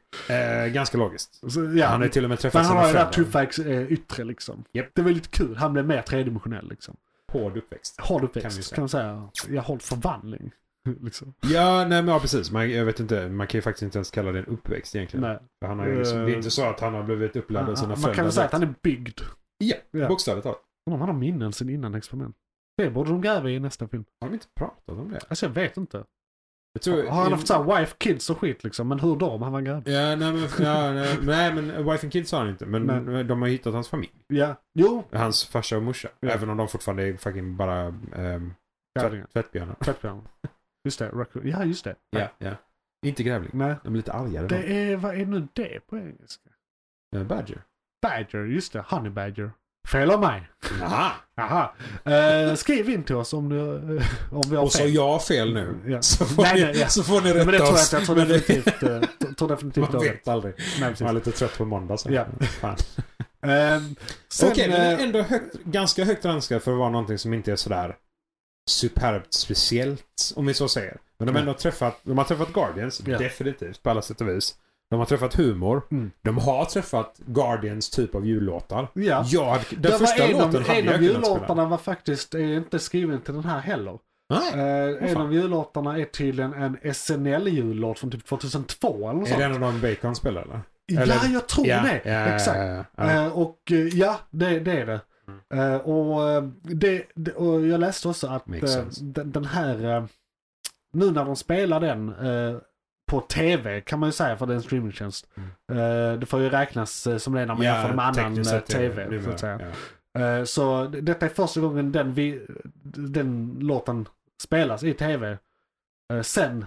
Eh, ganska logiskt.
Så, ja,
Han har ju till och med träffat
men han
sina
har ju det där
föräldrar.
tuffa ex, eh, yttre liksom.
Japp.
Det var lite kul. Han blev mer tredimensionell liksom.
Hård uppväxt.
Hård
Kan vi
uppväxt
säga.
kan man säga. Jag hård förvandling. liksom.
Ja, nej men ja, precis. Man, jag vet inte, man kan ju faktiskt inte ens kalla det en uppväxt egentligen.
Nej.
För han har ju liksom,
Eh,
det är inte så att han har blivit upplärd av
Man,
sina
man kan väl säga att han är byggd.
Ja,
Ja.
bokstavligt talat.
Undrar om han har minnen sen innan experiment. Det borde de gräva i i nästa film.
Har de inte pratat om det?
Alltså jag vet inte.
Jag tror,
Har han haft såhär wife, kids och skit liksom? Men hur då om han var grabb?
Ja, nej men, ja, nej, nej, men Wife and Kids har han inte. Men
Nej.
de har hittat hans familj.
Ja. Jo.
Hans farsa och morsa.
Ja.
Även om de fortfarande är fucking bara ehm,
Grävlingar.
tvätt, tvättbjörnar.
Tvättbjörn. Just det. Raccoon. Ja, just det.
Ja, ja. Inte grävling.
Nej.
De är lite argare.
Det är, vad är nu det på engelska?
då. Eh, Badger.
Badger, just det. Honey Badger. Fel av mig.
Aha.
Jaha. Eh, skriv in till oss om, du, eh, om vi har
Och så
fel.
jag har fel nu.
Ja.
Så, får
Nej,
ni,
nej, ja.
så får ni
Men
rätta
det tror jag
oss.
inte. Jag tror
Men det-
definitivt, eh, t- tror definitivt
Man
det.
vet aldrig.
Nej,
Jag
precis.
är lite trött på måndag sen.
Ja.
Fan.
Eh, sen,
Okej, men
eh,
ändå högt, ganska högt ranskad för att vara någonting som inte är sådär superbt speciellt, om vi så säger. Men de har ändå träffat, de har träffat Guardians,
Ja.
definitivt, på alla sätt och vis. De har träffat humor.
Mm.
De har träffat Guardians typ av jullåtar.
ja.
Jag hade, den
Det var
första
en av-
låten hade
En av
jag kunnat spela.
jullåtarna var faktiskt eh, inte skriven till den här heller.
Nej.
Eh, en
fan.
av jullåtarna är tydligen en SNL-jullåt från typ 2002 eller något
Är
sånt.
det en av de Bacon spelar eller?
Ja,
eller-
jag tror det. Oh, Exakt.
Ja, ja, Mm. ja.
Eh, och eh, ja, det, det är det. Eh, och, eh, det, det och jag läste också att
Makes
eh,
sense.
den, den här, eh, nu när de spelar den eh, på tv kan man ju säga för det är en streamingtjänst. Eh, det får ju räknas eh, som det är när man jämför det med annan
Mm. tekniskt
eh,
sett är det-
tv.
det är
Så,
med,
att säga.
ja.
Eh, så d- detta är första gången den, vi, den låten spelas i tv. Eh, sen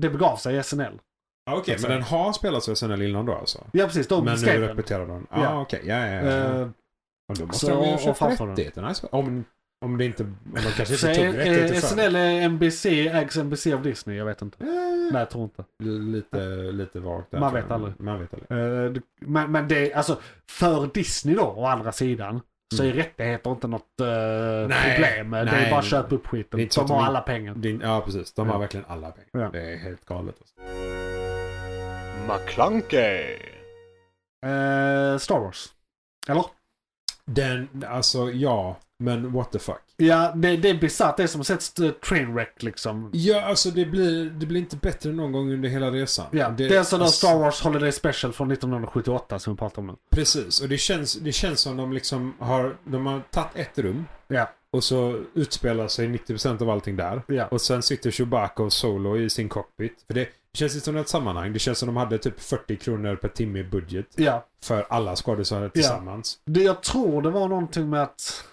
det begav sig i SNL.
Ja, Okej, men den har spelats av SNL innan då alltså?
Ja precis, de
Men
skrev
nu
den.
repeterar de.
Ja.
Ah, ja, okej. Ja, ja, ja.
Eh,
Och då måste
Så-
de ju
och
köpa
framför den.
rättigheterna. Om, om det inte... Om de kanske
Så
inte
är,
tog
är,
rättigheter för
eh, SNL är NBC, ägs NBC av Disney? Jag vet inte.
det.
Nej, jag tror inte.
Eh, Lite, lite vagt. där,
Man
tror jag.
vet aldrig.
Man vet aldrig.
Eh, det- Men, men det, alltså, för Disney då, å andra sidan, så är rättigheter inte något eh,
Mm. Nej,
problem. det är
nej.
bara att köpa upp
Det är
skiten.
inte så att
De har
de
alla pengar.
Din, ja, precis. De har
Ja.
verkligen alla pengar.
Ja.
Det är helt galet. Alltså.
McClunkey.
Eh, Star Wars. Eller?
Den, alltså ja, men what the fuck.
Ja, det, det är bisarrt. Det är som att sett eh, Trainwreck liksom.
Ja, alltså det blir, det blir inte bättre någon gång under hela resan. alltså,
Ja, det, är en sån där Star Wars Holiday Special från 1978 som vi pratar om nu.
Precis, och det känns, det känns som de liksom har, de har tagit ett rum.
Ja.
Och så utspelar sig 90% av allting där.
Ja.
Och sen sitter Chewbacca och Solo i sin cockpit. För det, det känns inte som ett sammanhang. Det känns som de hade typ 40 kronor per timme i budget.
Ja.
För alla skådespelare tillsammans.
Det, jag tror det var någonting med att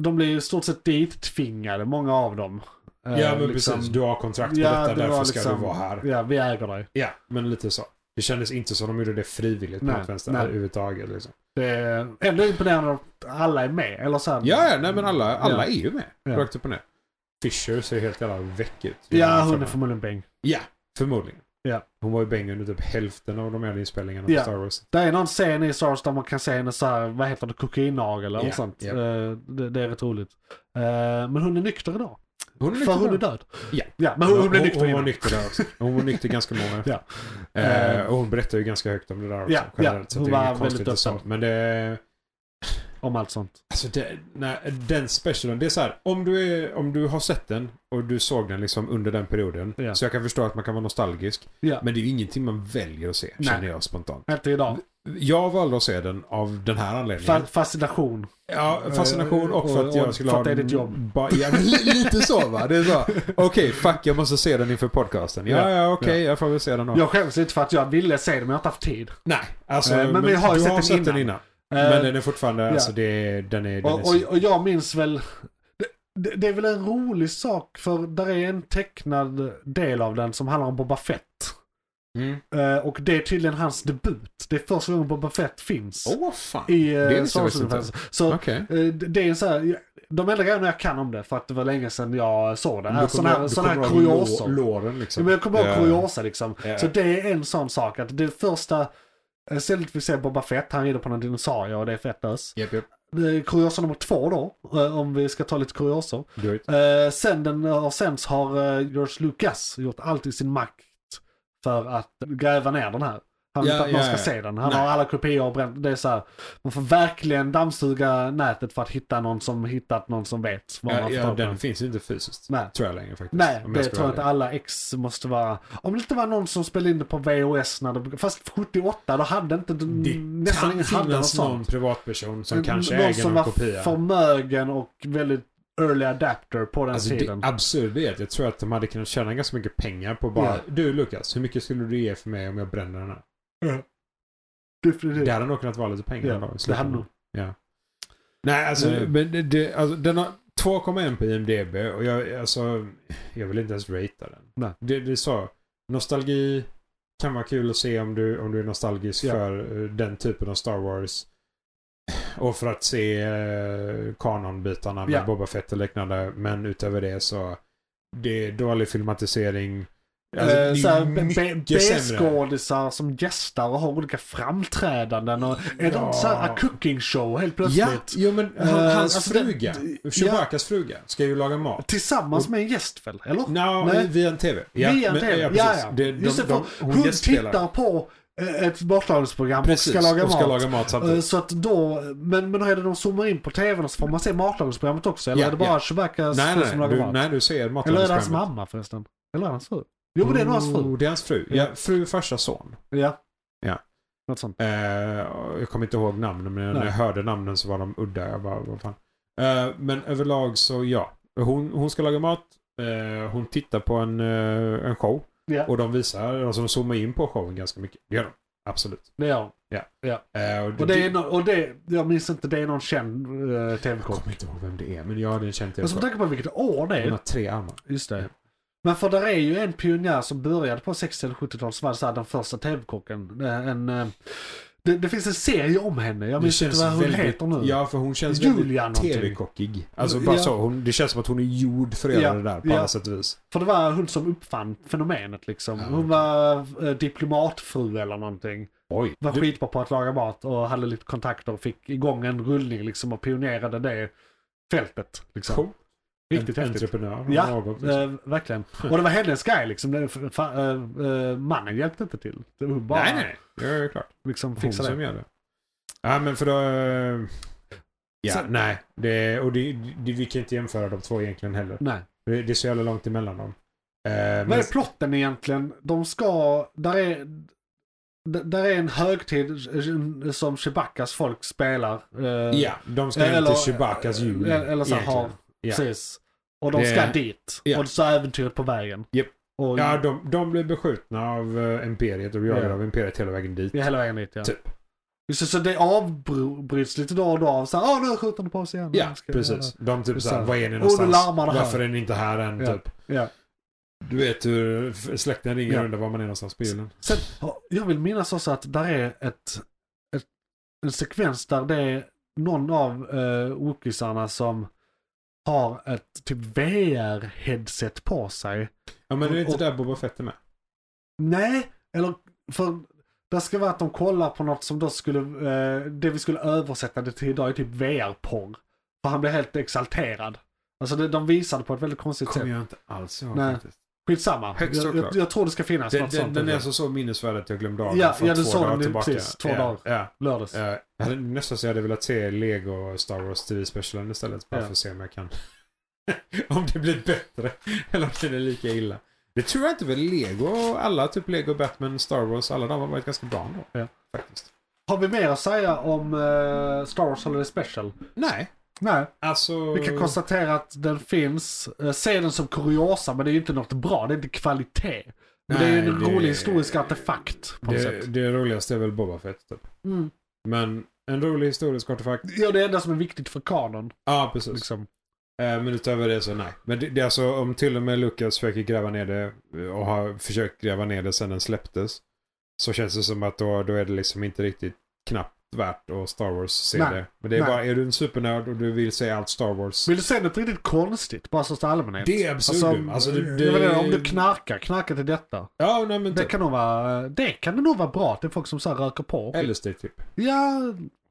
de blev i stort sett dittvingade, många av dem.
Ja,
Eh,
men
liksom-
precis. Du har kontrakt på
Ja, det
detta, därför
var
ska
liksom-
du vara här.
Ja, vi äger dig.
Ja, men lite så. Det kändes inte som de gjorde det frivilligt på
Nej,
något vänster
nej.
överhuvudtaget. Liksom.
Det är ändå imponerande att alla är med. Eller så här,
Ja, Mm. ja, nej men alla, alla
Ja.
är ju med.
Ja.
Rakt upp och ner. Fisher ser helt jävla väck ut.
Ja, hon är förmodligen Beng.
Ja, förmodligen.
Ja.
Hon var ju bäng under typ hälften av de här inspelningarna
Ja.
på Star Wars.
Det är någon scen i Star Wars där man kan se henne så här, vad heter det, kokainnagel eller
Ja,
något sånt.
ja.
Eh, det, det är rätt roligt. Eh, men hon är nykter idag.
Hon
För
nykter
hon
då.
är död.
Ja.
ja men hon, hon blev
hon
nykter
var
innan.
nykter där också. Hon var nykter ganska många.
Ja.
Eh, och hon berättar ju ganska högt om det där också.
Ja,
generellt,
ja.
så
Hon
det är
var
inget konstigt
väldigt
och så.
öppen.
Men det...
Om allt sånt.
Alltså det, nej, den specialen, det är så här. Om du, är, om du har sett den och du såg den liksom under den perioden.
Ja.
Så jag kan förstå att man kan vara nostalgisk.
Ja.
Men det är ju ingenting man väljer att se,
Nej.
känner jag spontant.
Inte idag.
Jag valde att se den av den här anledningen.
Fa- fascination.
Ja, fascination och för att
Och-
jag
och
skulle
för
ha...
att det är ditt jobb.
Ba, ja, men li- lite så va? Det är så. Okej, fuck, jag måste se den inför podcasten. Ja,
Ja,
ja, okej, jag får väl se den då.
Jag skäms inte för att jag ville se det men jag har inte haft tid.
Nej, alltså...
Eh, men vi har ju
du
sett
har
den
sett den
innan.
innan.
Eh,
Men den är fortfarande,
ja.
alltså det, är- den är... Den är
och, och, och jag minns väl... det- Det, det är väl en rolig sak för där är en tecknad del av den som handlar om Boba Fett.
mm.
Eh, och det är tydligen hans debut. Det är första gången Boba Fett finns.
Åh, vad fan.
I eh,
Oh, det visste
Star
jag faktiskt
Wars-universum. Så
Okej.
eh, det det är ju så här, jag- de enda grejerna jag kan om det för att det var länge sedan jag såg det.
Du
Är
kommer-
sådana här,
du
såna här
kommer ihåg lå-
kuriosor.
Låren liksom.
Ja, men jag kommer ihåg
Ja.
kuriosa liksom.
Ja.
Så det är en sån sak att det första eh, stället vi ser Boba Fett, han rider på någon dinosaurie och det är fett ös.
Japp, japp.
Eh, Kuriosa nummer två då, eh, om vi ska ta lite kuriosor.
Do it.
Eh, Sen den har sänts har eh, George Lucas gjort allt i sin makt för att gräva ner den här. Han vill
Ja,
inte att någon
ja,
ska
ja.
se den. Han
Nej.
har alla kopior och bränt. Det är så här, man får verkligen dammsuga nätet för att hitta någon som hittat någon som vet vad man
Ja,
får
eh, ja,
tag på
den finns ju inte fysiskt.
Nej.
Tror jag längre faktiskt.
Nej,
Om
det
ska
tror jag
vara
inte
ärlig.
alla ex måste vara. Om det inte var någon som spelade in det på VHS när det, Fast 78, då hade inte...
Det
nästan
kan
ingen hade något
finnas någon
sånt.
privatperson som kanske
någon
äger
som
någon
var
kopia.
förmögen och väldigt early adapter på den
Alltså det
tiden.
absurda är att jag tror att de hade kunnat tjäna ganska mycket pengar på bara
Ja.
Du Lukas, hur mycket skulle du ge för mig om jag bränner den här?
Definitivt.
Det hade nog kunnat vara lite pengar
Ja, det
ändå i
hade
slutändan.
nog.
Nej, alltså,
Nej.
men det, det, alltså den har 2,1 på IMDB och jag, alltså, jag vill inte ens ratea den.
Nej.
Det, det är så. Nostalgi kan vara kul att se om du, om du är nostalgisk
Ja.
för eh, den typen av Star Wars. Och för att se eh, kanonbitarna med
Ja.
Boba Fett och liknande. Men utöver det så det är dålig filmatisering. Alltså, det är
Eh, såhär,
mycket
B- B-
sämre.
B-skådisar som gästar och har olika framträdanden och är
Ja.
det så här, a cooking show helt
Ja,
plötsligt.
jo, men han,
Eh,
hans
alltså det-
fruga,
det-
Chewbacas fruga, ska ju laga mat.
Tillsammans med en gäst väl, eller?
No,
Nej.
via en TV.
Via
eh, men-
TV. Ja,
precis.
ja.
Det- de-
Just det,
de-
för hon
gästspelar.
tittar på eh, ett matlagningsprogram
Precis,
och ska laga
och ska
mat.
laga mat
Eh,
samtidigt.
Så att då, men, men då är det de zoomar in på tvn och så får man se matlagningsprogrammet också? Eller
Ja,
är det bara
ja.
Chewbaccas
nej,
fru som
nej,
lagar
du,
mat?
nej, du ser
Eller är det hans
matlagningsprogrammet.
mamma förresten? Eller är det hans fru? Jo, men det är nog hans fru.
Oh, Det är hans fru. Ja, fru, farsa, son.
Ja.
Ja.
Något sånt.
Eh, jag kommer inte ihåg namnen, men när
Nej.
jag hörde namnen så var de udda. Jag bara, vad fan. Eh, men överlag så ja. Hon, hon ska laga mat. Eh, hon tittar på en, eh, en show.
Ja,
Och de visar, alltså de zoomar in på showen ganska mycket. Det gör de. Absolut.
det är hon.
Eh,
Och det är no- och det, jag minns inte, det är någon känd eh,
Jag
tv-komiker.
kommer inte ihåg vem det är, men jag hade en känd
Men som
tv-show.
tänker på vilket år det
Hon
är.
har tre armar.
Just det. Men för där är ju en pionjär som började på 60 eller 70-talet som var så här, den första TV-kocken. Eh, En, eh, det, det finns en serie om henne, jag
Det
minns inte
känns
vad hon
väldigt-
heter nu.
Ja, för hon känns
Julia
väldigt
någonting.
tv-kockig. Alltså bara
Ja.
så. Hon, det känns som att hon är gjord för att göra
Ja,
det där på
ja.
alla sätt och vis.
För det var hon som uppfann fenomenet liksom.
Ja, okej.
Hon var eh, diplomatfru eller någonting.
Oj.
Var
Du,
skitbra på att laga mat och hade lite kontakter och fick igång en rullning liksom och pionerade det fältet. Liksom.
Cool.
Riktigt
en,
häftigt.
entreprenör. av
Ja,
något, liksom.
eh, verkligen. Och det var hennes grej liksom. Den, fa, eh, eh, mannen hjälpte inte till. Det var bara
nej, nej. Det är ju klart.
liksom
Hon
fixa
som
det.
gör det. Ja, men för då... eh, Ja,
Sen-
nej. Det, och det, det, vi kan inte jämföra de två egentligen heller.
Nej.
Det, det är så jävla långt emellan dem. Eh, men,
Vad är plotten egentligen? De ska, där är, d- där är en högtid eh, som Chewbaccas folk spelar. eh,
ja, de ska
eller- eh,
hem Typ till Chewbaccas jul.
Eller, eller så
egentligen.
har,
Ja.
precis. Och de
Det-
ska dit.
ja.
Och så är äventyret på vägen.
Japp.
Och,
Ja,
ja,
de, de blir beskjutna av eh, Imperiet och jagade
Ja.
av Imperiet hela vägen dit.
hela vägen dit ja.
Typ.
Just det, så det avbryts lite då och då av såhär, åh nu skjuter de på oss igen.
Ja,
Nu ska vi
precis. De typ
Så
såhär,
här,
vad är ni
nu
någonstans?
larmar det här."
Varför är ni inte här än?
Ja.
Typ.
göra-" Ja.
Du vet hur f- släkten ringer
Ja.
och undrar var man är någonstans på julen.
Sen, jag vill minnas också att där är ett, ett, en sekvens där det är någon av uh, Wookisarna som har ett typ VR-headset på sig.
Ja, men är det inte
Och- Typ.
där Boba Fett är med?
Nej, eller för det ska vara att de kollar på något som då skulle, eh, det vi skulle översätta det till idag är typ VR-porr. För han blev helt exalterad. Alltså det, de visade på ett väldigt konstigt sätt.
Kommer jag inte alls ihåg
Nej.
faktiskt.
Skitsamma.
Högst
jag, jag,
oklart.
jag tror det ska finnas
Den,
något
den,
sånt.
den är alltså så minnesvärd att jag glömde av
Ja,
den från
ja, du
två
sa
dagar
den ju
tillbaka.
precis, två
ja,
dagar.
Ja.
Lördags.
Ja, Eh, jag hade nästan så jag hade velat se Lego och Star Wars TV-specialen istället. Bara
Ja.
för att se om jag kan... om det blir bättre. Eller om det är lika illa. Det tror jag inte väl Lego, alla typ Lego, Batman, Star Wars, alla de har varit ganska bra ändå.
Ja.
Faktiskt.
Har vi mer att säga om eh, Star Wars Holiday Special?
Nej,
Nej.
alltså...
Vi kan konstatera att den finns. Eh, Se den som kuriosa, men det är ju inte något bra. Det är inte kvalitet. Men det är ju en
Nej, det-
rolig historisk artefakt på något
det,
sätt.
det roligaste är väl Boba Fett typ.
Mm.
Men en rolig historisk artefakt.
Ja, det är det enda som är viktigt för kanon.
Ja, precis.
Liksom.
Eh, Men utöver det så nej. Men det, det är alltså om till och med Lucas försöker gräva ner det eh, och har försökt gräva ner det sedan den släpptes. Så känns det som att då, då är det liksom inte riktigt knappt värt att Star Wars se
Nej.
det. Men det är
Nej.
bara, är du en supernörd och du vill se allt Star Wars.
Vill du se något riktigt konstigt, bara största allmänhet?
Det är absurdum. Alltså, det, det,
jag vet inte, om du knarkar, knarka till detta.
Ja, nej men
Det
typ.
kan nog vara, det kan det nog vara bra att det är folk som så här röker på.
LSD typ.
Ja,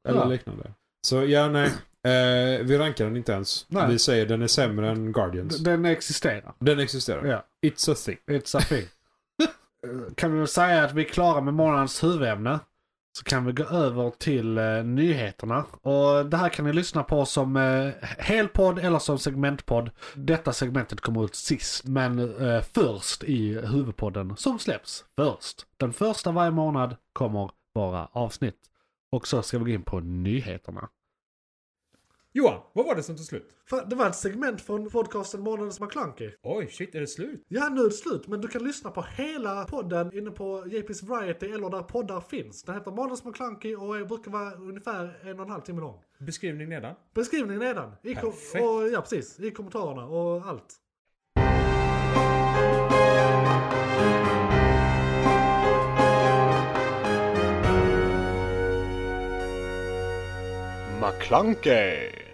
Eller
Ja.
liknande. Så ja, nej. Eh, vi rankar den inte ens.
Nej.
Vi säger den är sämre än Guardians.
d- den existerar.
Den existerar.
Ja.
It's a thing.
It's a thing. Eh, kan vi väl säga att vi är klara med morgonens huvudämne. Så kan vi gå över till eh, nyheterna. Och det här kan ni lyssna på som eh, helpodd eller som segmentpodd. Detta segmentet kommer ut sist, men eh, först i huvudpodden som släpps först. Den första varje månad kommer våra avsnitt. Och så ska vi gå in på nyheterna.
Johan, vad var det som tog slut?
Det var ett segment från podcasten Månadens McKlunky.
Oj, shit, är det slut?
Ja, nu är det slut, men du kan lyssna på hela podden inne på JP's Variety eller där poddar finns. Den heter Manus McClunky och är- brukar vara ungefär en och en halv timme lång.
Beskrivning nedan.
Beskrivningen nedan. I kom-
Perfekt.
och, ja, precis. I kommentarerna och allt.
McClunkey!